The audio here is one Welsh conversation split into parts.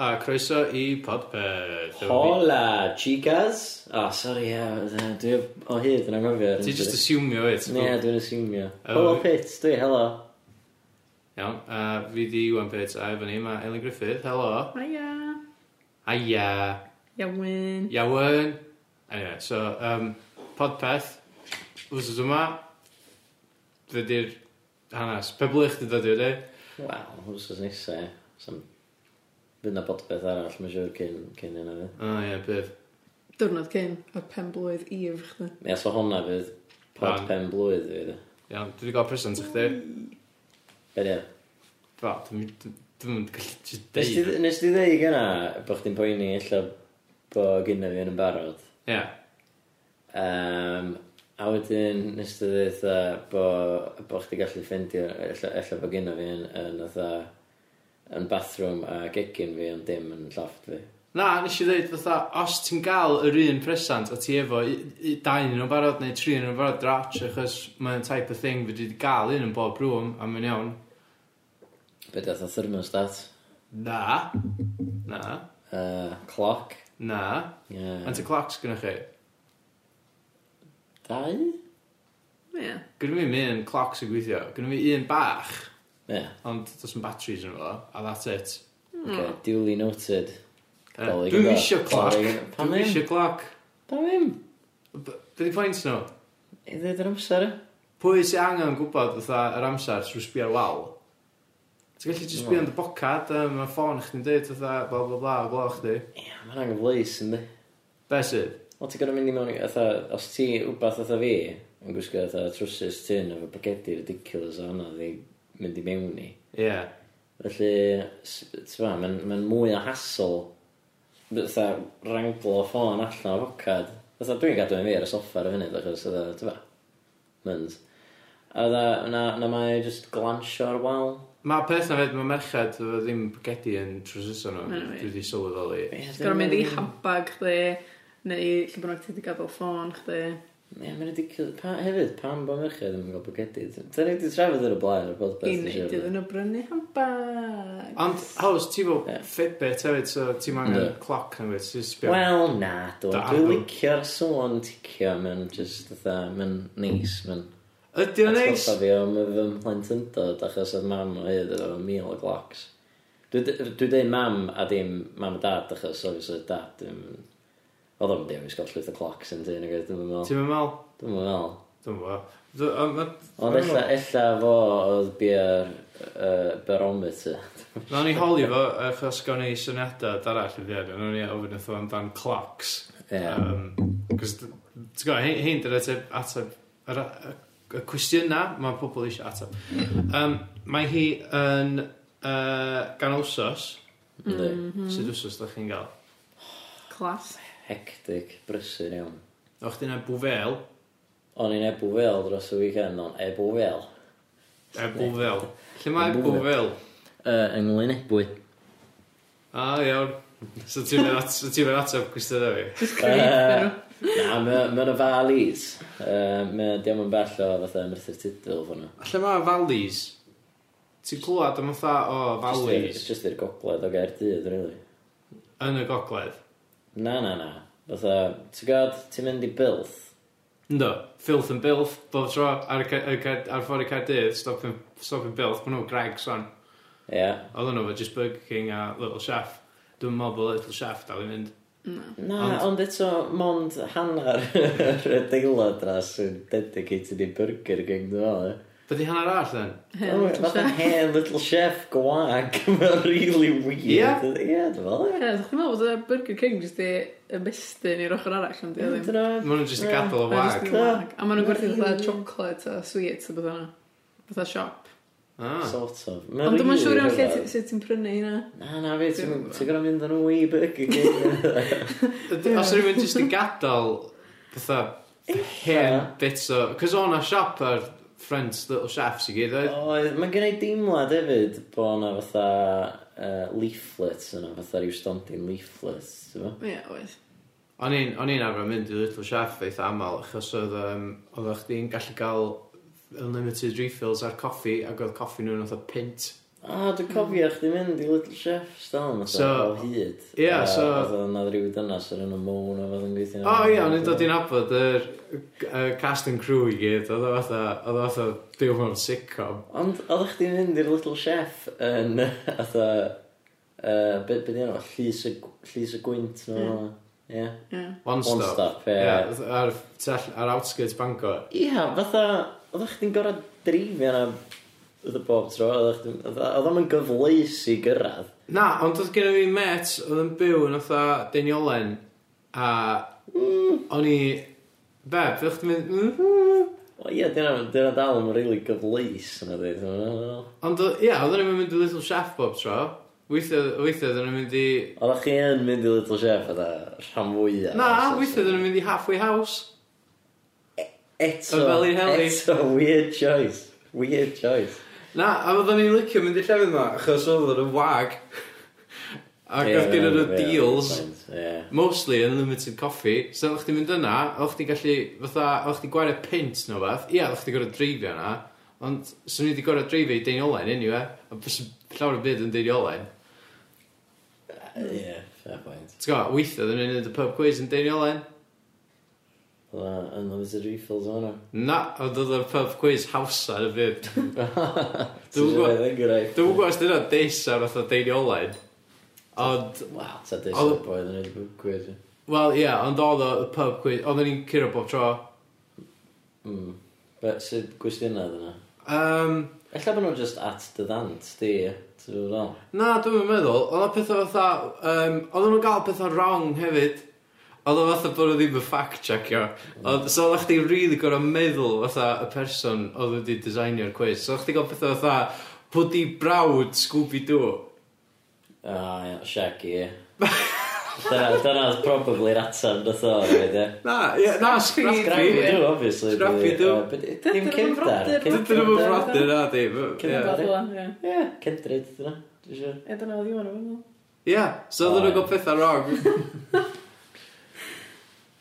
a croeso i podpeth. Hola, chicas! O, oh, sori, ie, dwi o hyd yn anghofio. Ti just assumeio it. Ie, dwi'n asiwmio. Oh. Helo Pits, dwi, helo. Iawn, a fi di Iwan Pits a efo ni mae Elin Griffith, helo. Hiya. Aia, Iawn. iawn. Anyway, so, um, podpeth, wrth yma, dydy'r hanes, pe blych di dod i wedi? Wel, wrsos nesa, ie. Sam... Fydd na bodbeth arall, mae'n siŵr cyn, cyn yna fydd. O ie, bydd. Diwrnod cyn, a pen blwydd Eve chdi. Ie, so honna fydd pod Pan. pen blwydd fydd. e. Iawn, dwi wedi gael present i chdi. Be ie. Fa, dwi'n dwi'n gallu just Nes deud. ti- nes ti ddeud gyna bod chdi'n poeni illa bo gynna fi yn yn barod? Ie, Um, a wedyn nes ti ddeud uh, bo, bo chdi gallu ffeindio illa, illa bo gynna fi yn, yn, yn, yn bathroom a gegin fi ond dim yn llofft fi. Na, nes i ddeud fatha, os ti'n gael yr un presant a ti efo i- i- dau yn o'n barod neu tri yn o'n barod drach achos mae'n type of thing fyddi wedi gael un yn bob rŵm a mae'n iawn. Be dath o thermostat? Na, na, Uh, cloc? na. Yeah. Anti-clocks gyda chi. Dau? Ie. Gyda mi un clock sy'n gweithio. Gyda mi un bach, Ie, ond does yn batteries yn fo, a that's it. Hmm. okay. duly noted. Yy, Dolig Dwi'm yn dda. isio clock. Dolig yn- Pam Dwi'n ddim? isio cloc. Da ddim. B- Be di pwynt nhw? I ddweud yr amser e? Pwy sy'n angen gwybod fatha yr amser trwy sbio ar wal? Ti'n gallu just sbio yn dy bocad, a mae ffôn chdi'n dweud fatha bla bla bla o glo chdi. Ie, mae'n anghyfleus yndi. Be sydd? Wel, ti'n gorau mynd i mewn i, fatha, os ti wbath fatha fi, yn gwisgo fatha trwsus tyn efo bagedi ridiculous o hwnna i mynd i mewn i. Ie. Felly, s- ti'n fa, mae'n ma mwy o hassle, fatha, ranglo o ffôn allan o focad. Fatha, dwi'n gadw yn fi ar y soffa ar y funud, achos, fatha, ti'n fa, mynd. A fatha, na, na mae just glansio ar wal. Mae peth na fed, mae merched efo ddim bagedi yn trwsus nhw. Ma' nhw i. Dwi wedi sylweddoli. Ti'n gorau mynd i handbag chdi, neu lle bynnag ti wedi gadael ffôn chdi. Ie, mae'n ridiculous. Pa, hefyd, pam bo merched ddim yn gael bagedi? Dyna ni wedi trafod ar y blaen, ar bod I neud iddyn nhw brynu handbag. Ond, haws, ti fo Ie. Fitbit hefyd, so ti'n angen Yndw. cloc na fyd, ti'n sbio. Wel, na, do. Da, Dwi'n do. licio'r sôn ticio, mae'n just, fatha, mae'n neis, mae'n... Ydi o'n neis? Atgoffa fi o my fy mhlentendod, achos oedd mam o hyd efo mil o glocs. Dwi d- dwi dweud mam a dim mam a dad, achos obviously dad, dim... Oedd o'n dewis gael llwyth o clocs yn dyn, ac oedd dwi'n meddwl. Ti'n meddwl? Dwi'n meddwl. Dwi'n meddwl. Ond ella, ella fo oedd bia'r uh, barometer. Na ni holi fo, achos gawn ni syniadau darall yn ddiad, ond ni ofyn wrtho amdan clocks. Ie. Ah. Cos, ti'n gwybod, hyn- hyn dyna ateb, ateb yr y- y cwestiyna, mae pobl eisiau ateb. Um, mae hi yn uh, gan wsos, Mm. Ynddi. sydd wsos da chi'n gael. Mm-hmm. Clas. Hectic, brysur iawn. O'ch dyna bwfel, O'n i'n ebw fel dros y weekend, ond ebw fel. e bwfel. Lle mae Bwfel. bwfel? Uh, ynglyn ebwy. A iawn. So ti'n mynd at- so ti'n mynd ateb cwestiyna fi. Na, mae'n y valis. Mae'n diolch yn bell o fatha ymrthyr tudl fan nhw. Lle mae valis? Ti'n clywed am fatha o Jyst i'r- valis Jyst i'r gogledd o Gaerdydd, really. yn y gogledd? Na, na, na. Fatha, ti'n gwybod, ti'n mynd i bilth. Ynddo, filth and bilth, bob tro ar, y ca- y ca- ar ffordd i Caerdydd, stop yn, stop yn bilth, maen nhw'n greg swan. Ie. Oedden nhw fo just Burger King a Little Chef. Dwi'n meddwl bod Little Chef dal i mynd. Na, Ond- ond eto, mond hanner yr adeilad na sy'n dedicated i burger king, dwi'n meddwl. ie. Be di hanner arall then? Hen, Oh, ti'n Fatha siarad? hen little chef gwag. Mae'n really weird. Ie, Ie. dwi'n meddwl. ie. Ie, dwi'n meddwl bod y Burger King jyst i ymestyn i'r ochr arall ond Ie, diodd ddim. dyna- Maen nhw'n just Ie. yeah. gadal o A jyst wag. i wag. A maen nhw'n gwerthu fatha chocolate a sweets a beth yna. Fatha siop. Ah. Sort of. Mae'n Ond dwi'n ma'n rili siŵr iawn lle rhyfedd. ti- sut ti'n prynu hynna. Na, na fi, ti'n ti'n gorau mynd yn o wee burger king. Yd- Os rhywun just yn gadal fatha hen bits o... Cos o'na siop ar ffrind Little Chef sy'n gyd oedd. Oedd, mae'n gen i deimlad hefyd bo' na fatha uh, leaflets yna, fatha rhyw stondin leaflets, ti'n fo? Ie, oes. O'n i'n o'n i'n arfer mynd i Little Chef eitha aml achos oedd um, oedd chdi'n gallu gael unlimited refills ar coffi ac oedd coffi nhw'n oedd pint. A, dwi'n cofio chdi mynd i Little Chef's dal yn so, So- o hyd. Ie, so- Oedd yna rhyw dynas ar enw Moon a fath yn gweithio. O ia, o'n i'n dod i'n abod yr y cast and crew i gyd, oedd o fatha, oedd o fatha byw mewn sitcom. Ond oedd chdi'n mynd i'r Little Chef yn atho... Uh, be be di enw? Llys y gw- llys y gwynt nhw. Ie. Ie. One One Stop. Stop, ie. Ie, ar, tell- ar outskirts Bangor. Ia, fatha... Oedd chdi'n gorau dreifio na... Oedd y bob tro, oedd chdi'n... Oedd o'n gyfleus i gyrraedd. Na, ond oedd gen i fi met oedd yn byw yn fatha Deniolen, a o'n i, be, fe chdi mynd, mm, O ia, dyna dyna dal yn rili gyfleus yna dweud. Oedd ond o- ie, oedd o'n i'n mynd i Little Chef bob tro, weithio, weithio oedd o'n i'n mynd i, chi yn mynd i Little Chef fatha rhan fwyaf. na, weithio oedd o'n i'n mynd i Halfway House. Eto, Yn fel i heli. eto, weird choice. Weird choice. Na, a fydden ni'n licio mynd i llefydd yma, achos oedd yn wag. Ac Ie, oedd gen nhw ie, deals, fine, Ie. mostly unlimited coffee, so oedd chdi'n mynd yna, oedd chdi'n gallu, fatha, oedd chdi'n gwario pint neu beth, ia, oedd chdi'n gorau dreifio yna, ond swn i wedi gorau dreifio i Deuniolen, anyway, a bys llawer o byd yn Deuniolen. Ie, fair point. T'w go, weithio, ddyn ni'n neud y pub quiz yn Deuniolen. Oedd yna unlimited refills o'n nhw. Na, oedd oedd y pub quiz hawsa yn y byd. Dwi'n gwbod. gwybod. Dwi'n gwybod. Dwi'n gwybod os dyna dis ar fatha Deuniolen, ond Wel, ta dis Oedd- o'r boedd yn edrych yn gwir. Wel, ie, yeah, ond oedd o y pub quiz, oedden ni'n curo bob tro. Mm. Be, sut gwestiynau dyna? Um, Ella bod nhw'n just at the dant, di. Ti'n gwybod fel? na, dwi'n yn meddwl, oedd o pethau fatha, um, oedden nhw'n gael pethau wrong hefyd. Oedd o fatha bod nhw ddim yn fact-checio. Oedd, so oedd chdi'n rili gorau meddwl fatha y person oedd wedi designio'r quiz. So oedd chdi'n gael pethau fatha, pwdi brawd Scooby-Doo. O, ia, Shaggy. ie. Dyna, dyna oedd probably yr atab nath o, roedd e. Na, ie, na, Scrappy. Scrappy do, obviously. Scrappy Doo. Dim Dydyn nhw'm cyndar. frodyr. Dydyn nhw'n ffrodur, na, di. Cyn Ie. i Fel Ie. hwnna, ie. Ie, cendryd, dyna. Dwi'n siŵr. Ie, dyna oedd Iwan yn meddwl. Ie, so oedden nhw'n O, gael pethau wrong.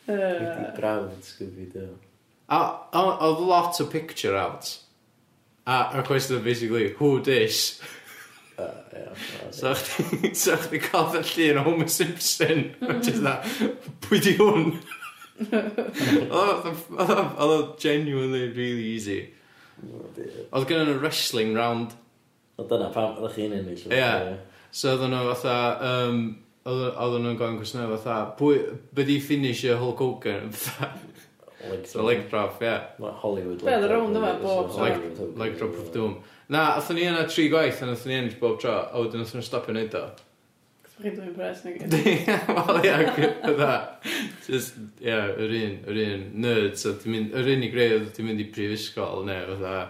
Wedi Yy, brawd Scooby-Doo. A a- oedd lot o picture out. A y cwestiwn basically, who dis? O, ie, o, So chdi, so chdi cael dy llun o Homer Simpson. a Just that, pwy di hwn? Oedd o- Oedd o- oedd o genuinely really easy. o, ie. Oedd gen nhw wrestling round. O, dyna pam ydych chi'n ennill. Ie. So oedden nhw fatha, um, oedden nhw'n gofyn cwestiynau fatha, pwy, byddi finish y Hulk Hogan? Fatha, Like, So leg drop, ie. Yeah. Ma- Hollywood. Be, oedd y rownd yma, bob tro? Leg, leg drop of doom. Na, oedden ni yna tri gwaith, a oedden ni ennill bob tro, a wedyn oedden nhw'n stopio wneud o. chi'n dwi'n impressed nag ydy? Wel ia, gyda Just, ia, yr un, yr un nerd so ti'n mynd, yr unig greu oedd ti'n mynd i brifysgol neu fatha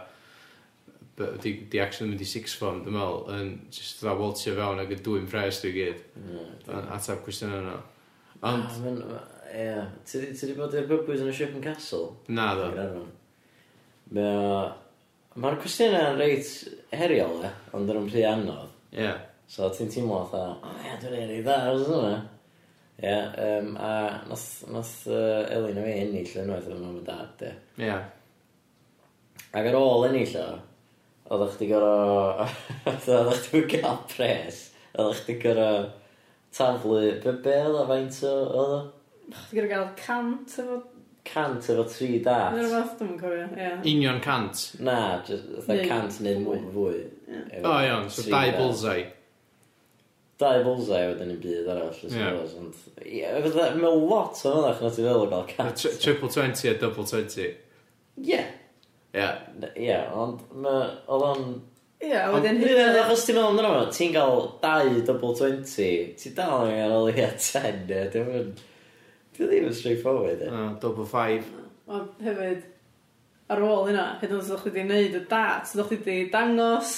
b- di, di actually mynd i six form dwi'n meddwl yn just fatha waltio fewn ag yn dwy'n ffres dwi'n gyd yn atab cwestiwn yna ond Ond... Ie. Ti di- ti di bod i'r pubquiz yn y Ship and Castle? na ddo Gaernarfon. Mae... Mae'r cwestiynau yn reit heriol, e, ond yn rhy anodd. ia So ti'n teimlo fatha, o ie, dwi'n ei dda, oes yna. Ie, um, a nath, nath uh, Elin o fi ennill unwaith efo mam a dad, ie. ia Ac ar ôl ennill o, oedd chdi gorau... oedd chdi wedi cael pres. Oedd chdi gorau taflu... Be bel a faint o... Oedd o? Chdi gyda gael cant efo... Cant efo tri Nid dat. rhywbeth, dwi'n cofio, ie. union cant Na, jyst oedd Neu cant neu mwy. fwy. o iawn so Tri dau dat. bullseye Dau bullseye wedyn yn byd arall, Ie. I suppose. Ond, ie, fatha, mae lot o hwnna chna ti feddwl o gael Y cant. tri- triple 20 a double 20 Ie. ia Ie, ond mae... Oedd o'n... Ie, a Ond wedyn hyd hyd yn yn oed oed... achos ti'n meddwl amdano fo, ti'n cael dau double 20, ti dal yn gael ia 10, e, dim yn... Ti ddim yn straightforward, e. O, double 5 Ond hefyd, ar ôl yna, hyd yn oed ydych chi wedi gwneud y dat, ydych chi wedi dangos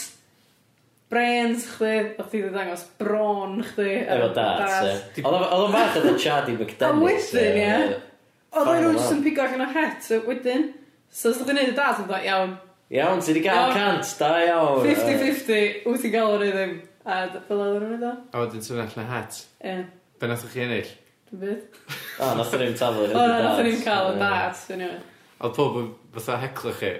brains chdi, ydych chi wedi dangos bron chdi. Efo dat, e. Oedd o'n- oedd o'n fach oedd y Charlie McDennis. A wedyn, ie. Oedd Final nhw'n just one. yn pigo allan o het, so wedyn. So os ydych chi'n gwneud y dat, yn dweud, iawn, Iawn, ti wedi cael Iawn. cant, da iawn. 50-50, wyt ti'n gael o'r ddim. A d- fel oedd nhw'n meddwl? a wedyn sy'n allan hat Ie, be nath chi ennill dwi'n bydd. O, nath o'n i'n taflu. O, na, nath ni'n cael y dat, dwi'n iawn. oedd pob yn fatha hecla chi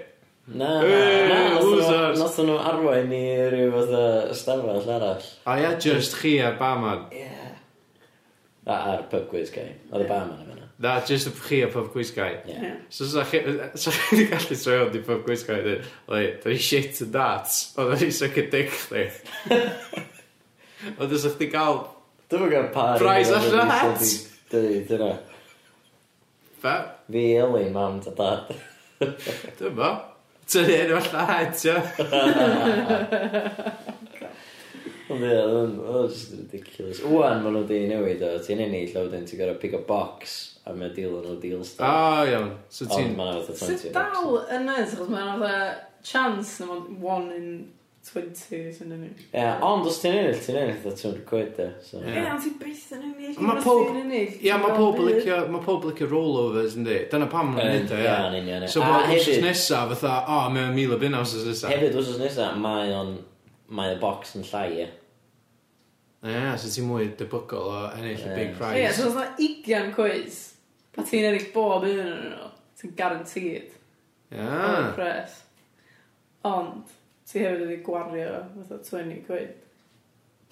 Na, Hey, na, na, nath o- losers. nath nath nhw arwain i ryw fath o stafell arall. A ia, just chi a barman. Yeah. A, a'r pub quiz guy. Oedd y barman yn fyna. Na, just chi a pub quiz guy. Yeah. So sa chi, sa chi wedi gallu troi o'n di pub quiz guy dweud, Oli, da ni shit yn darts, o da ni sy'n dick chdi. Ond os chdi gael, Dwi'n gwybod pa... Prize allan o Dweud yna. fe, Fi Eli, mam, da dad. dwi'n bo, tynnu enw allan het, ia. Ond ie, oedd yn- oedd o'n just ridiculous. Wwan, maen nhw di newid o. Ti'n ennill, a wedyn ti'n gorau pick a box, a mae deal yn o deal O, stuff. iawn, Ah, so Ond ti'n... maen nhw fatha 20 bucks. Sut dal yn nes, achos mae'n fath chance na mae'n one in 20 sy'n yn unig. Ie, ond os ti'n ennill, ti'n ennill, da 200 quid e. So. Ie. Ie, ond ti'n beth yn unig. Ma' pob- Ia, mae pob yn licio, mae pob yn licio rollovers, yndi? Dyna pam ma'n Yn- neud o, ia. ie, yn union, ie. So A bod wrth hefyd- nesa, fatha, o, mae'n mil o bin os nesa. Hefyd, wrth nesa, mae o'n... Mae y box yn llai, ie. Ie, so ti'n mwy debygol o ennill y Ie. big prize. Ie, so os na 20 cwys, a ti'n edrych bob un yn nhw, ti'n garantid. Ie. Pres. Ond, ti hefyd wedi gwario fatha 20 quid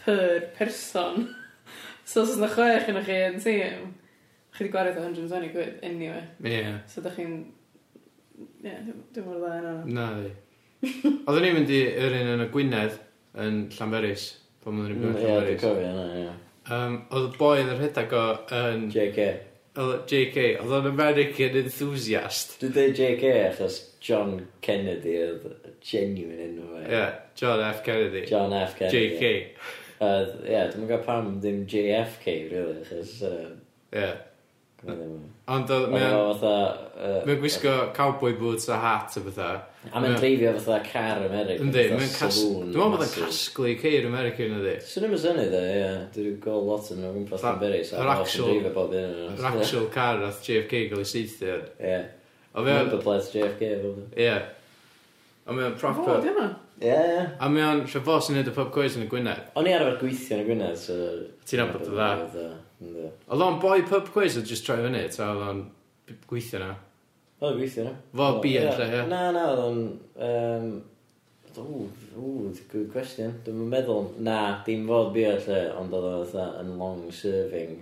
per person. so os yna chwech yn chi yn tîm, chi wedi gwario fatha 120 quid anyway. Ie. So da chi'n... Ie, yeah, dwi'n mor dda yna. Na, di. Oedden ni'n mynd i yr un yn y Gwynedd, yn Llanberis, pan oedden Mm, Ie, ni'n dwi'n mynd i Llanberis. cofio hynna, ie. Um, oedd y boi yn yr rhedeg o yn JK. oedd- JK, oedd o'n American enthusiast. Dwi'n dweud JK achos John Kennedy oedd genuine enw fe. Ie, John F Kennedy. John F Kennedy. JK. Oedd, ie, dwi'n gwybod pam ddim JFK, really, achos... yy, Ie. gwbo ddim. Ond oedd- Oedd mae o'n- o fatha... yy, mae o'n gwisgo cowboy boots a hat a bethau. A mae'n dreifio fatha car America. Yndi, fatha mae'n cas... saloon Dwi'n meddwl bod yn massive. casglu ceir American ydi. Swn i'n syni dda, ie. Dwi'n gweld lot yn o'n gwmpas Fatha- yn berys. yr Yr actual- actual... Dwi'n dreifio bob un o'n Yr actual car oedd JFK gael ei seithi yn. Ie. Ond mae o'n... Number plates JFK. fel yna. Ie. Ond mae o'n Fo, proper... di hwnna? Ie, ie. A mae o'n rhefo sy'n neud y pub quiz yn y Gwynedd. O'n i arfer gweithio yn y Gwynedd, so... Ti'n nabod o dda. dda. Ynddo. Oedd o'n boi pub quiz oedd just troi fyny, ta oedd o'n b- gweithio na. Oedd o'n gweithio, na? Fo Oedd- bi yn ie. lle, ie. Na, na, oedd o'n... yym, Ww, ww, good question. Dwi'n meddwl, na, dim fod bi yn lle, ond oedd o'n fatha yn long-serving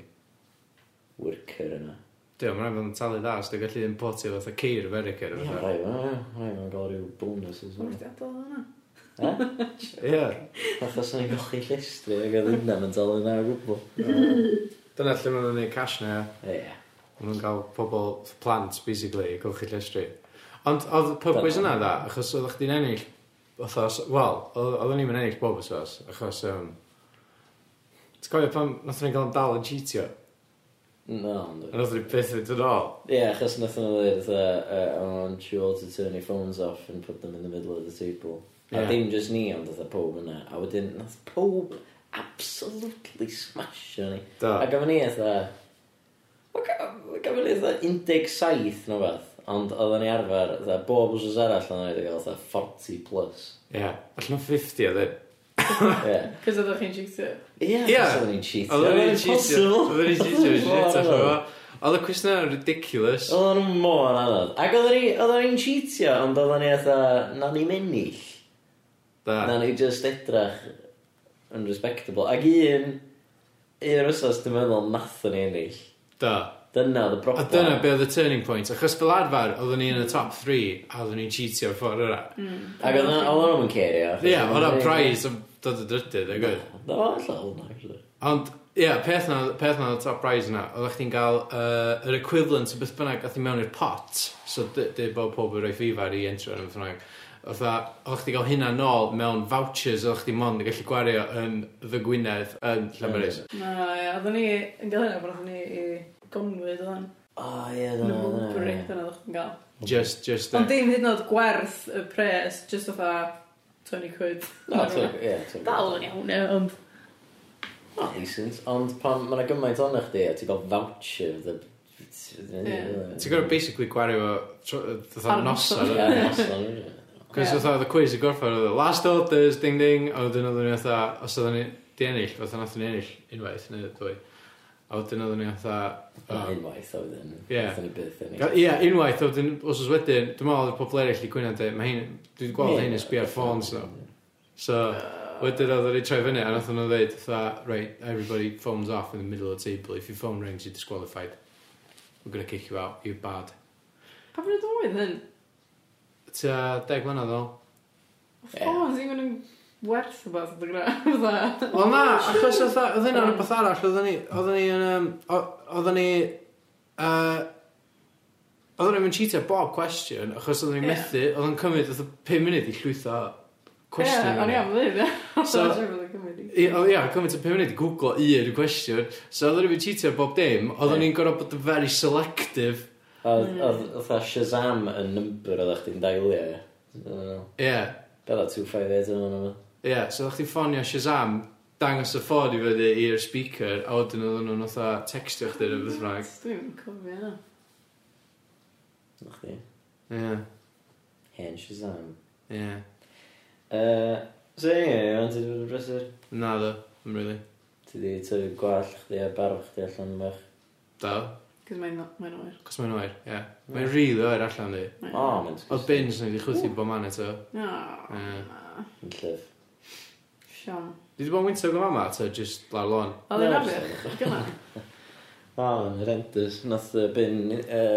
worker yna. Dio, mae'n rhaid bod yn talu dda, os dwi'n gallu importio fatha ceir America Ie, neu mae'n fatha. rhaid, mae'n rhaid, mae'n rhaid gael rhyw bonuses. Fo, di adal hwnna? Ie? Ie. Fatha sy'n ni'n gochi llestri ac oedd hynna yn talu na o gwbl. Dyna lle mae'n neud cash na, ie. Ie. Mae nhw'n cael pobl plant, basically, i golchi llestri. Ond oedd y pub quiz yna dda, achos oedd chdi'n ennill, othos, wel, oedd- oedden ni'n ennill bob os os, achos, um, Ti'n cofio pan nath ni'n cael yn dal yn cheatio? No, ond... A nath ni'n byth yn dod ôl? Ie, achos nathon nhw ddweud, uh, I'm sure to turn your phones off and put them in the middle of the table. A Ie. dim just ni, ond oedd pob yna. A wedyn, nath pob absolutely smashio ni. Do. A gafon ni eitha... Gafon ni eitha 17 no beth. Ond oedden ni arfer, eitha bob wsos arall oedden ni wedi cael eitha 40 plus. Ie, allan o 50 oedd e. Ie. Cys oeddech chi'n cheatio. Ie, Ie. achos oedden ni'n cheatio. Oedd Oedden o'n ni'n cheatio. possible. Oedd o'n cheatio shit allan Waw. o. Oedd y cwestiwn yn ridiculous. Oedden nhw mor anodd. Ac oedden ni, oedden ni'n cheatio, ond oedden ni eitha, na ni'n ennill. Da. Na ni just edrach yn respectable. Ac un, un wrthos dwi'n meddwl nathon ni ennill. Da. Dyna the A broblem. dyna be oedd y turning point. Achos fel arfer, oedden ni yn y top 3 a oedden ni'n cheatio o'r ffordd yna. Hmm. Ac oedd o'n yn cerio. Ie, oedd o'n prize am dod y drydydd, e gwyd. Do, allan hwnna, actually. Ond, ie, peth na, peth na oedd y top prize yna, oedd chdi'n cael uh, yr equivalent o beth bynnag gath i mewn i'r pot, so dy dy bod pob yn rhoi ffifar i entro yn ffrang. Oedd chdi gael hynna nôl mewn vouchers oedd chdi mond yn gallu gwario yn The Gwynedd yn Llanberis. Na, ie, oeddwn ni yn gael hynna, bod oeddwn ni i gonwyd o'n O, ie, dyna, nobri, dyna. dyna oeddech chi'n gael. Just, just... Ond dim hyd yn oed gwerth y pres, just oeddech 20 quid. No, ti'n- ie, ti'n- Dal yn iawn, ie, ond... O, decent. Ond pan mae'n gymaint ond chdi, a ti'n gael voucher, the... Ie. Ti'n gorfod basically gwario fo fatha Ar noson. noson. Ie, noson, ie. Cos Ie. fatha oedd y quiz i gorffen oedd y last orders, ding ding, a wedyn oedden ni fatha, os oedden ni di ennill, fatha nath ni ennill unwaith neu ddwy. A wedyn oedden ni fatha... Na, unwaith a wedyn. Oh. Ie. Wnaethon ni byth yn Ga- Ie, unwaith, a wedyn, os oes wedyn, dwi'n meddwl oedd pobl eraill i cwyno yn dweud, mae hyn, dwi wedi gweld hyn yn sbio ar ffôns nhw. So, wedyn oedd ni'n troi fyny, a nath nhw'n dweud, fatha, right, everybody phones off in the middle of the table, if your phone rings, you're disqualified. We're gonna kick you out, you're bad. Pa fynd yn oed hyn? Ta, deg mlynedd ôl. Ie. Ffôn, sy'n gwneud werth o beth ydych chi'n gwneud. Wel na, achos oedd oedd hynna yn y beth arall, oedden ni, oedden ni yn, yym, o- oedden ni, yy, oedden ni'n cheatio bob question, achos oedden ni'n Ie. methu, oedd yn cymryd, oedd 5 munud i llwytho cwestiwn. Ie, o'n i am ddweud. So- So, Ie, ie. o- ie, cymryd y pum munud i googlo un cwestiwn So oedden ni'n cheatio ar bob dim Oedden ni'n gorfod bod yn very selective Mm. Oedd oedd a Shazam yn number oedd chdi'n dailio, ie. Be Ie, da 258 yn hwnnw? ie So oeddech chi'n ffonio Shazam Dangos y ffôn i fyny i'r speaker A wedyn oedden nhw'n otha textio chdi yn y byth rhaeg Dwi'n cofio yna. Na chdi. Ie, Hen Shazam. ie Yy, So anyway, ond ti wedi bod yn brysur? Na ddo, yn really Ti wedi tyfu gwall chdi a barw chdi allan bach? Da, Cos mae'n mae'n oer. cos mae'n oer, ie Mae'n rili oer allan di Mae'n- O, mae'n Oedd bins ni wedi chwythu bo man eto O, Ie. na. Yn llyf. Siom. Di di bod yn winter gyda mama ta, just lawr lon Oedd yn Na, abych, gyna. O, mae'n horrendous. Nath y bin, yy,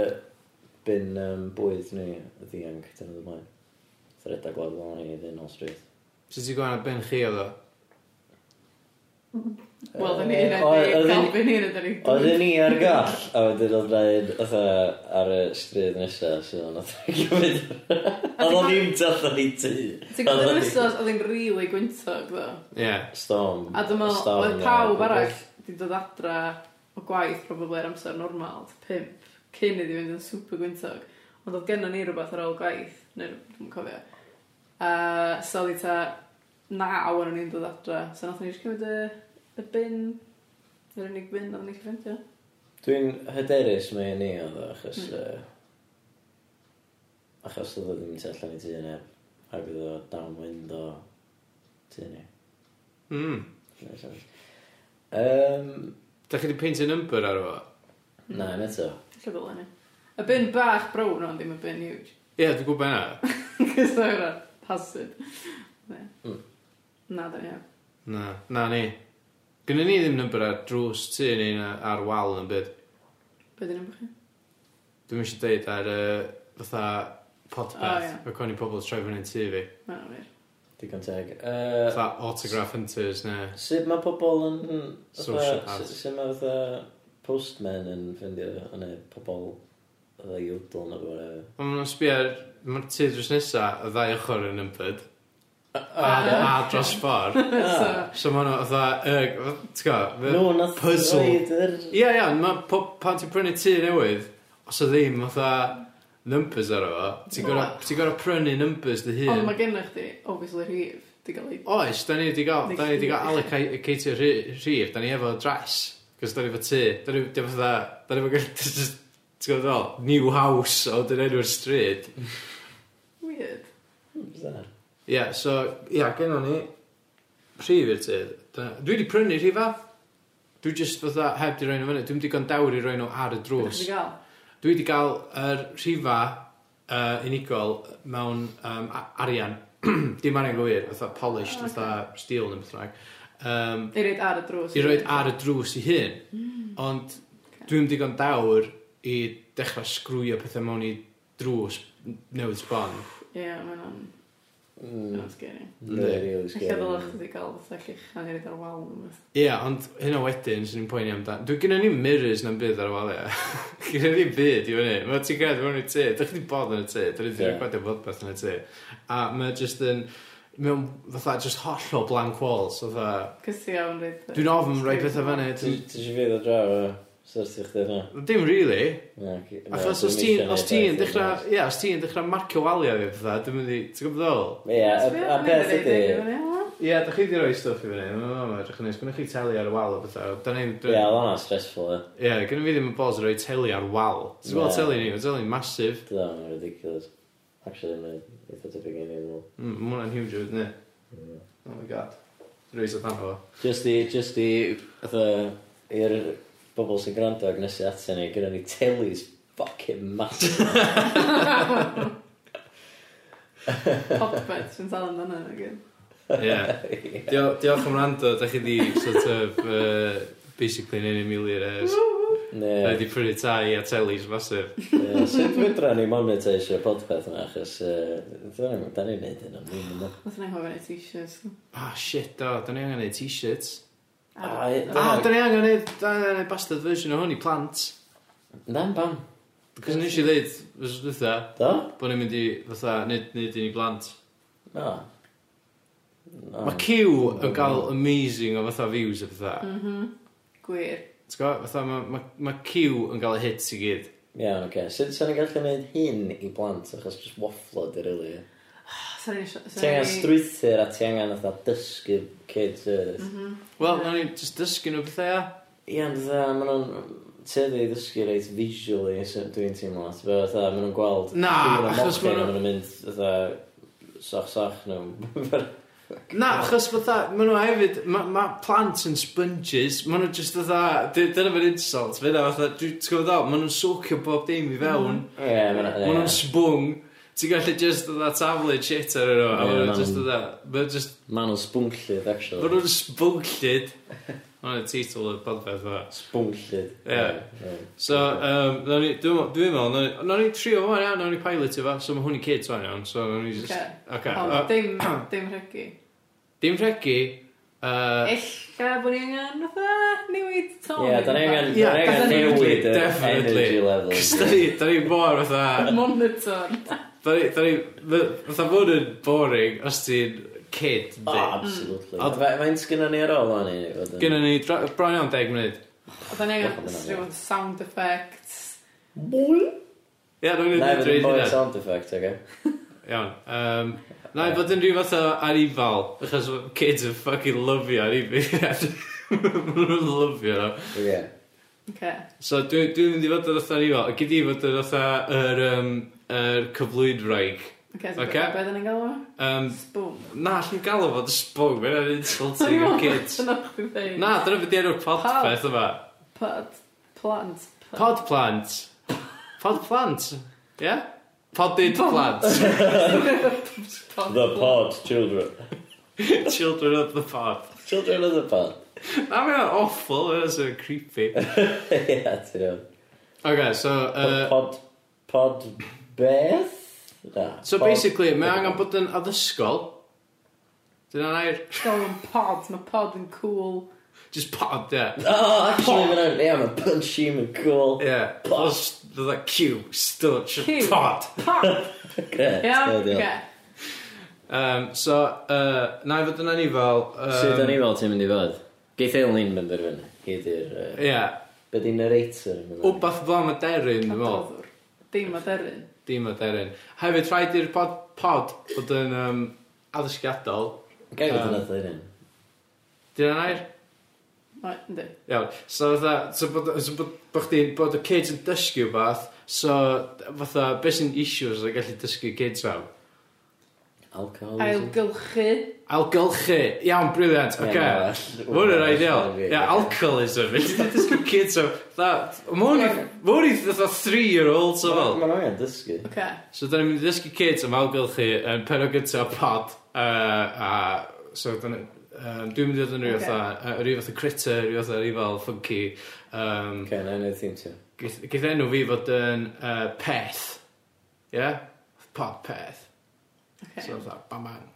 bin yym, bwyd ni y ddianc dyn nhw'n ymlaen. Nath yr edrych gwlad lôn i ddyn o stryd. Sut ti'n gwahanol ben chi oedd o? Wel, dyn ni Yy, yna, oedd- oedd- galb yn hyn ydyn ni. Oedden ni ar goll, a wedyn oedd rhaid fatha ar y stryd nesaf, so nath ni gymryd. Oedd o ddim tatho ni tŷ. Ti'n gwybod yn ysos, oedd yn rili gwyntog, ddo. Ie, Storm. A dwi'n meddwl, storm oedd yna. pawb arall wedi dod adra o gwaith, probably ar amser normal, t- pump, cyn iddi fynd yn super gwyntog. Ond oedd gennym ni rhywbeth ar ôl gwaith, neu dwi'n cofio. A so oedd hi ta naw o'n ni'n dod adra, so nath ni eisiau cymryd y, y bin, yr unig bin oedd ni'n ffeindio. Dwi'n hyderus mae ni oedd o, achos... Hmm. yy, Achos oedd o ddim tu allan i tŷ neb. Ac oedd o downwind o tŷ ni. mm. Makes sense. Yym, Da chi wedi peintio number ar efo? Na, yn eto. Lle ddylen ni. Y bin bach brown o'n ddim y bin huge. Ie, dwi'n gwybod e. yna Cys oedd yna pasid. Ne. Hmm. Mm. Na, da ni iawn. Na, na ni. Gynnu ni ddim number ar drws tu ni na ar wal yn byd. Be dyn ni'n bwchi? Dwi'n eisiau deud ar uh, fatha podpeth. O, Oh, yeah. ni pobl troi fyny tu fi. Na, na, wir. Digon teg. Yy, Fatha autograph hunters neu... Sut mae pobl yn... yn- Social fatha- paths. su- Sut mae fatha postmen yn ffindio yn y pobl y iwdl neu bod... Ond ma'n sbio ar... Mae'r tu drws nesa y ddau ochr yn ymwyd. A, a, a dros ffordd. So, So ma'n o fatha... Uh, T'w gwybod? Nhw nath puzzle. roid yr... Ie, ie, ond ma' po- pan ti'n prynu tu newydd, os o ddim fatha numbers ar efo, ti'n gorfod- ti'n gorfod prynu numbers dy hun. Ond mae gennych chdi, obviously, rhif, di gael ei... Oes, da ni wedi gael, Neu da ni wedi gael chi. allocatio rhif, da ni efo dress, cos da ni efo tŷ, da ni efo fatha, da ni efo gael, ti'n gwybod fel, new house o dyn enw'r stryd. Weird. Hmm, Bizarre. Ie, yeah, so, ie, yeah, gennym ni rhif i'r tŷ. Da- Dwi wedi prynu rhif a, dwi just fatha heb di roi nhw fyny, dwi'n digon dawr i roi nhw ar y Rwys. drws. Di gael. Dwi wedi gael yr rhifa uh, unigol mewn um, arian, dim arian gywir, fatha polished, Ah, ocê. fatha steel neu beth bynnag. Um, I reid ar y drws. i roed ar y drws i hun. Hmm. Ond dwi'n digon dawr i dechrau sgrwio pethau mewn i drws n- newydd sbon. Ie, mae'n o'n... Mm, Mae'n scary. Hmm. really, really Lle ddylech scary. chdi gael fatha llichan i reid ar wal. neu rwbeth. Ie, yeah, ond hyn o wedyn sy'n ni'n poeni amdan. Dwi'n gynnu ni mirrors na'n bydd ar y waliau. gynnu ni byd i fyny. Mae ti'n gael mewn i te. Dych chi 'di bod yn y te. Dych chi wedi Ie. recordio bod beth yn y te. A mae jyst yn... Mewn fatha just holl o blank walls. Fatha... Cys ti iawn reid... Dwi'n ofn rhaid pethau fyny. Ti Dwi'n- ti eisiau fydd o draw o syrtio chdi hynna? Dim really. Na, ci- na, Achos dwi'm os isio ti'n neud os ti'n beth dechrau hynna. ie os ti'n dechrau marcio waliau fi fatha dwi'n mynd i ti'n gwybod ddol? Ie, a- a peth ydi... Ie, da chi wedi rhoi stwff i fyny, mae'n mam edrych yn neis, gwneud chi teli ar y wal o bethau, da ni... Ie, oedd hwnna'n stressful, e. Ie, gynnu fi ddim yn bod rhoi teli ar wal. Ti'n gweld Ie. teli ni, mae teli'n masif, Dwi'n dda, mae'n ridiculous. Actually, mae'n eitha tebyg i ni, dwi'n meddwl. Hmm. Mm, mae hwnna'n huge oedd ni. Oh my god. Rwy'n sy'n fan o. Just i, just i, fatha, i'r bobl sy'n gwrando ag nesu atyn ni, gyda ni telis fucking massive. Popbet, sy'n sal amdano yn again. Yeah. Dio- Diolch am rando, da chi di sort of uh, basically neud i mili res. Ne, Da di prynu tai a telis masif. ne, sut fydra ni monetaisio podpeth yna, achos uh, da ni'n neud hyn am ddim yma. Nath ni hofyn i t-shirts. Ah, shit, do, da ni angen neud t-shirts. Ah, ie. Ah, da ni angen neud, da ni angen neud bastard version o hwn i plant. Na'n bam, Cos nes i ddeud, fes dwytha, do? bod ni'n mynd i, fatha, neud, neud un i blant. No. Mae Q yn cael amazing o fatha views o fatha. Mm. Mhm. Gwir. T'w gwbo? Fatha, mae ma, ma Q yn cael y hits i gyd. Iawn, oce. Sut sa'n ni'n gallu gwneud hyn i blant, achos jyst wafflo di rili. Sa'n ni... sa'n Ti angen ni- strwythyr a ti angen fatha dysgu kids earth. Mm-hmm. Wel, na ni just dysgu nhw bethau, ia. Ie, ond fatha, maen nhw'n teddu i ddysgu reit visually, so dwi'n teimlo. Ti'n bod, fatha, maen nhw'n gweld... Na, rhywun yn achos maen mochyn, nhw- a maen nhw'n mynd, fatha, soch-soch nhw. Na, achos fatha, maen nhw hefyd, mae ma plant yn sponges, maen nhw just fatha, dy- dyna fy'n insult, fe na, fatha, dwi- ti'n gwybod o, maen nhw'n socio bob dim i fewn, Mm. Ie, maen maen nhw'n nhw'n... sbwng, ti'n gallu just fatha taflu shit ar yno, a Ie, maen maen nhw'n just nhw'n- fatha, maen nhw'n just, Maen nhw'n sbwnllid, actually. maen nhw'n sbwnllid, maen nhw'n teitl o'r podpeth fa. Sbwnllid. Ie. So, um, nawn ni- dwi'n meddwl- dwi'n meddwl, nawn ni- nawn ni trio fo fan iawn, nawn ni pilot efo, so mae hwn i kids fan iawn, so nawn ni just, Ocê. oce, Ond o- dim, dim rhygu. dim rhegi, uh, yy, Ella bod ni angen fatha newid ton. Ie, da ni Oh, angen Ie, uh, da ni angen definitely, newid yr definitely. energy level. Cos da ni, da ni mor fatha, Monitor. da ni, da ni, fatha fod yn boring os ti'n kid, O, di. Oh, absolutely. Ond- Fe- Fe'n sgynna ni ar ôl o'n i? fod yn- Gynna ni dra- bron iawn 10 munud. A da ni Diolch am angen hynna, rhyw sound effects. Ia, dwi'n Na, gwneud fydd dweud yn boi hynna. sound effect, oge? Iawn. Um, na i fod yn rhyw fath o anifal, achos ma' kids yn fucking lyfio anifeiliad. Maen nhw'n lyfio nhw. Ie. Oce. So dwi- dwi'n mynd i fod yn fatha anifal, ac i di fod yn fatha yr um, yr cyflwydwraig. Oce, so Ocê. be- be da ni'n galw? fo? Um, Sbwm. na, allwn galw fod y spwng, mae'n insulting i'r kids. Dyna chdi dweud. Na, dyna beth enw'r podpeth yma. Pod. Plant. Pod plant. Pod plant. Ie? Yeah? Podded Pod- plant. The pod, children. Children of the pod. Children of the pod. Na, mae'n awful. Mae'n so creepy. Ie, ti'n iawn. Okay, so... Uh, Pod... Pod... Beth? Na. so pod- basically, mae angen bod yn addysgol. Dyna'n air. Gael yn pod. Mae pod yn cool. Just pod, ie. Yeah. Oh, actually, mae'n iawn. Ie, mae'n punchy, mae'n cool. Ie. Yeah. Pod. Plus, the Q, stwtch, Q. pod. Pod. Gret, Iawn, ideal. oce. Um, so, uh, na i fod yn anifal... Um, Sut o'n i fel ti'n mynd i fod? Geith eil ni'n mynd yr fyny. Hyd i'r... Ie. yy, Yeah. Be di narrator? yn mynd Wbath flam y deryn, dwi'n meddwl. Adroddwr. Dim aderyn. Dim o deryn. Hefyd, rhaid i'r pod, pod bod yn um, addysgiadol. i? Gai fod Yym. yn atho hyn. Dyna nair? O, Yndi. Iawn. So, fatha, so bod, so bod, bod, chdi, bod y kids yn dysgu wbath, so, fatha, beth sy'n issues a gallu dysgu kids fel? Alcoholism? Ailgylchu. Algylchu. Iawn, briliant. Ie, Oce. na, Okay. well, Mwyn yn well, ideal. well, Ie, yeah. alcoholism. Fe ti'n dysgu kids fel, fatha, mwyn i fatha three-year-old, so fel. Mae'n angen dysgu. Oce. So, da ni'n mynd i ddysgu kids am algylchu yn pero gyntaf pod, uh, a, so, da ni, um, dwi'n mynd i ddod yn rhyw Ocê. fatha, yy, rhyw fatha critter, rhyw fatha rifal, funky. Um, Ok, na i'n ddim ti. Geith geith enw fi fod yn uh, peth. Ie? Yeah? Pod peth. Oce. So, fatha, bam bam.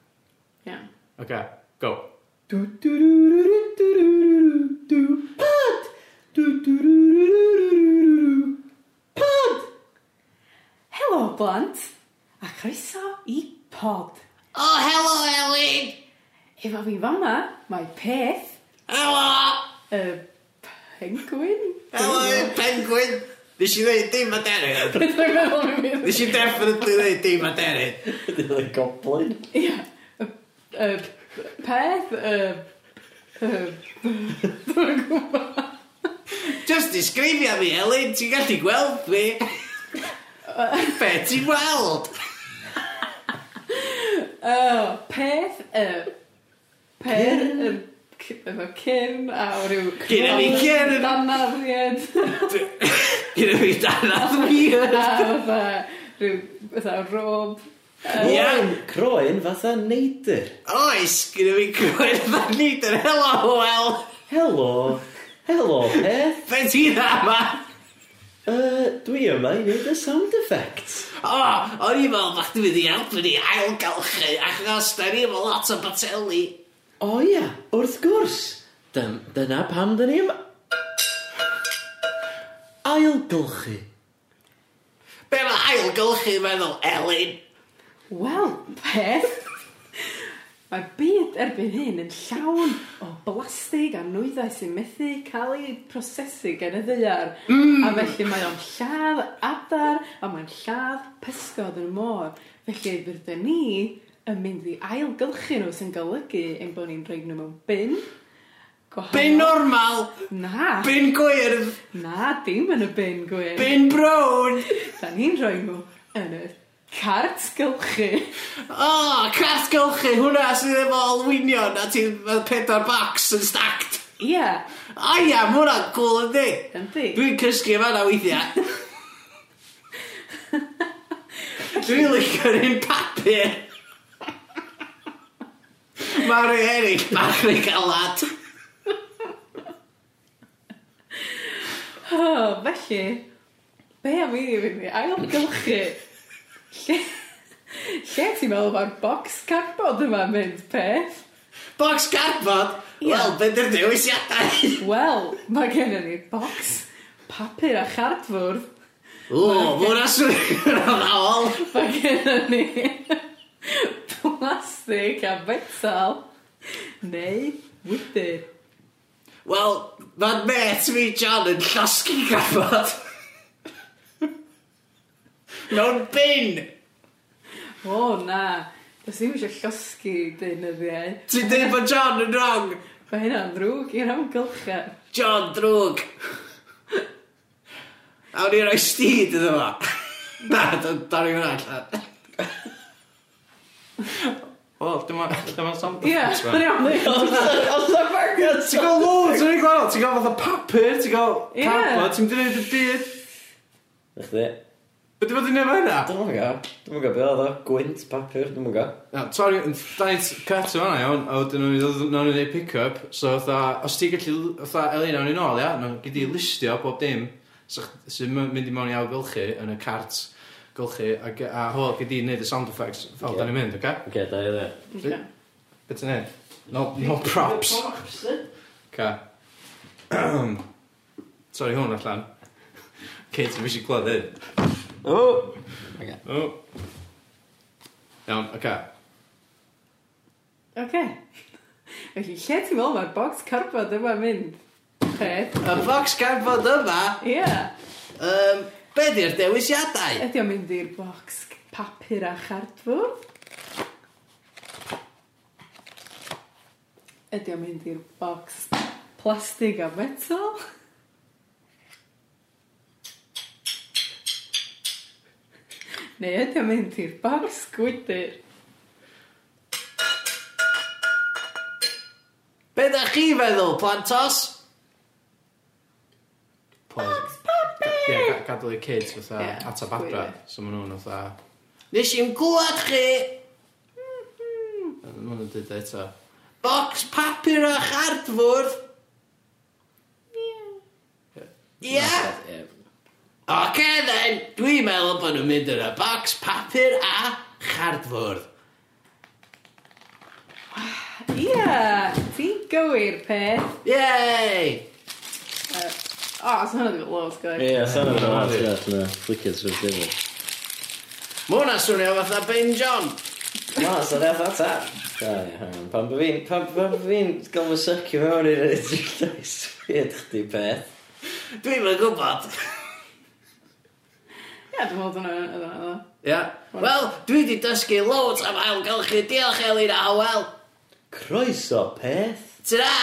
Iawn. Okay, go. Pod! Helo, blant. A croeso i pod. Oh, hello, Ellie. Efo fi fama, mae peth Hello. y penguin. Hello, penguin. Nes i ddeud dim a deryn. Dwi'n meddwl mi fydd. Nes i definitely ddeud dim a deryn. Dwi'n goblin. Ie. Y- y Peth, y... y- Dwi'n gwybod. Just disgrifio mi, Ellie. Ti'n gallu gweld fi? Be ti'n weld? O, peth, y... Per, y... c- efo cyn a ryw... Gynna ni cyn! Danaried Gyda fi danad weird. a fatha ryw fatha rob. Yy, Iawn. Croen fatha neidr. Oes, gyda fi cwyd dda nid yn helo, wel. Helo. Helo, peth. Be ti dda ma? Uh, dwi yma i wneud y sound effects. O, o'n i fel bach dwi'n mynd i helpu ni ailgalchu achos da ni efo lot o bateli. O ia, wrth gwrs. Dyn, dyna pam dyn ni yma. Ailgylchu. Be mae ailgalchu yn meddwl, Elin? Wel, peth! Mae'r byd erbyn hyn yn llawn o blastig a nwyddau sy'n methu cael ei prosesu gen y ddear. Mm. A felly mae o'n lladd adar a mae'n lladd pysgod yn y môr. Felly fyddwn ni yn mynd i ailgylchu nhw sy'n golygu ein bod ni'n rhoi nhw mewn bin. Gwahanol- Bin normal, Na, bin gwyrdd, na, dim yn y bin gwyn. bin brown. Da ni'n rhoi nhw yn y cart gylchu. O, cart gylchu, hwnna sydd efo olwynion a ti'n fel pedwar box yn stacked. Ie, yeah, O ia, mae hwnna'n cool yndi. yndi. Dwi'n cysgu fan'na weithiau. Dwi'n licio'r un papur. Mae rhai erill bach yn galad. Oh, felly, be am i ni fynd i ailgylchu? lle, lle ti'n meddwl mae'r bocs cardboard yma'n mynd, peth? Box cardboard? Ia. Wel, beth yw'r dewisiadau? Wel, mae gennym ni'r bocs papur a chardfwrdd. O, mae hwnna swnio'n ddawol. Mae gennym ni plastig a metal. Neu wydyr. Wel, mae'n met mi John yn llosgi cardboard. Mewn bin! O, na. Does ddim eisiau llosgu deunyddiau. Ti'n dweud bod John yn wrong? Mae hynna'n ddrwg i'r amgylchedd. John drwg. A wni roi stid iddo fo. Na, dwi'n dorri hwnna allan. Wel, dyma, dyma sound Ie, effects mae'n ma. iawn. Os yna bargain! Ti'n gael loads yn ei gwahanol, ti'n gael fatha papur, ti'n gael Ie. cardboard, ti'n mynd i wneud y byd. Chdi. Be di bod i'n neud hynna? Dwi'n mwyn gael. Dwi'n mwyn gael beth oedd o. Gwynt, papur, dwi'n mwyn gael. Na, torri, yn daint cut o'n hwnna iawn, a wedyn nhw'n mynd- nawn ni neud pick-up, so fatha, os ti'n gallu, fatha, Elin, nawn ni nôl, ia, nawn ni gyd i listio bob dim, so ch- sy'n my- mynd i mewn i awgylchu yn y cart gylchu, a, ge- a hwyl, gyd i neud y sound effects, fel Ocê. da ni'n mynd, oce? Oce, da i dde. Ocê. Be ti'n neud? No, no props. Ca. Sorry hwn allan. Kate, ti'n eisiau glod hyn. O! O. Iawn, oce. Oce. Felly, lle ti'n meddwl mae'r bocs carbod yma'n mynd? Peth. Y box cardboard yma, Ie. um, be di'r dewisiadau? Ydy o'n mynd i'r bocs c- papur a chardfwrdd? Ydy o'n mynd i'r bocs plastig a metal? Neu ydy o'n mynd i'r bocs gwydyr? Be da chi feddwl, plantos? Pause. Ie, ga- gadw i'r kids fatha Ie, atab adra. gwir. So maen nhw'n fatha... Nes i'n glwad chi Maen nhw'n dweud eto. box papur a chardfwrdd. Ie. Yeah. Oce, then, dwi'n meddwl bod nhw'n mynd yn y box papur a chardfwrdd. Ie, ti'n gywir peth. Yay! O, oh, so hwnna ddim yn lot gwydyr. Ie, sa'n yna Ie. hwnna. Ie, flickers fwy'r difyr. Mae hwnna swnio fatha Ben John. Na, so dda ffa ta. Da, ie, hang on. Pan bod fi'n, pan pan bod fi'n gael fy sycio mewn i'r edryllais, fyd chdi peth. Dwi'n yn gwybod. Ie, dwi'n meddwl dyna yna yna. Ia. Wel, dwi wedi dysgu loads am ailgylchu. Diolch Elin a wel. Croeso peth. Ta!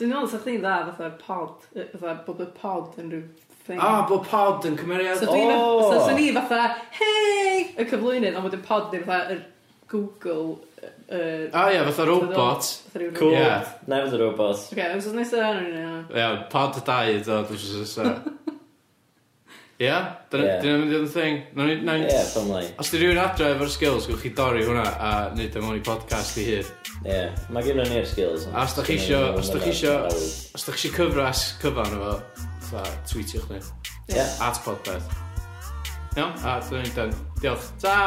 Dwi'n meddwl sa chdi'n dda fatha pod, yy, fatha bod y pod yn rhyw thing. A, bod pod yn cymeriad. so dwi'n o! fatha, so ni fatha, hei, y cyflwynydd, ond bod y pod neu fatha yr Google yy, yr... A ie, fatha robot. Fatha ryw Cool. Ie. Nefyd y robot. Oce, okay, wrth nesaf yn yna. Iawn, pod y dau i ddod wrth nesa. Ia? Dyna Ie. dyna mynd i fod yn thing? Nawn ni- nawn Ie, ni- ffam lai. Os di rhywun adre efo'r skills, gwch chi dorri hwnna a neud o mewn i podcast i hyd. Ie, mae gen ni'r skills. A os da chi isio, os da chi isio, os da chi isio cyfres cyfan efo, fa, tweetiwch ni. Então, Ie. ah, tá. At podpeth. Iawn, a dyna ni'n dan. Diolch. Ta!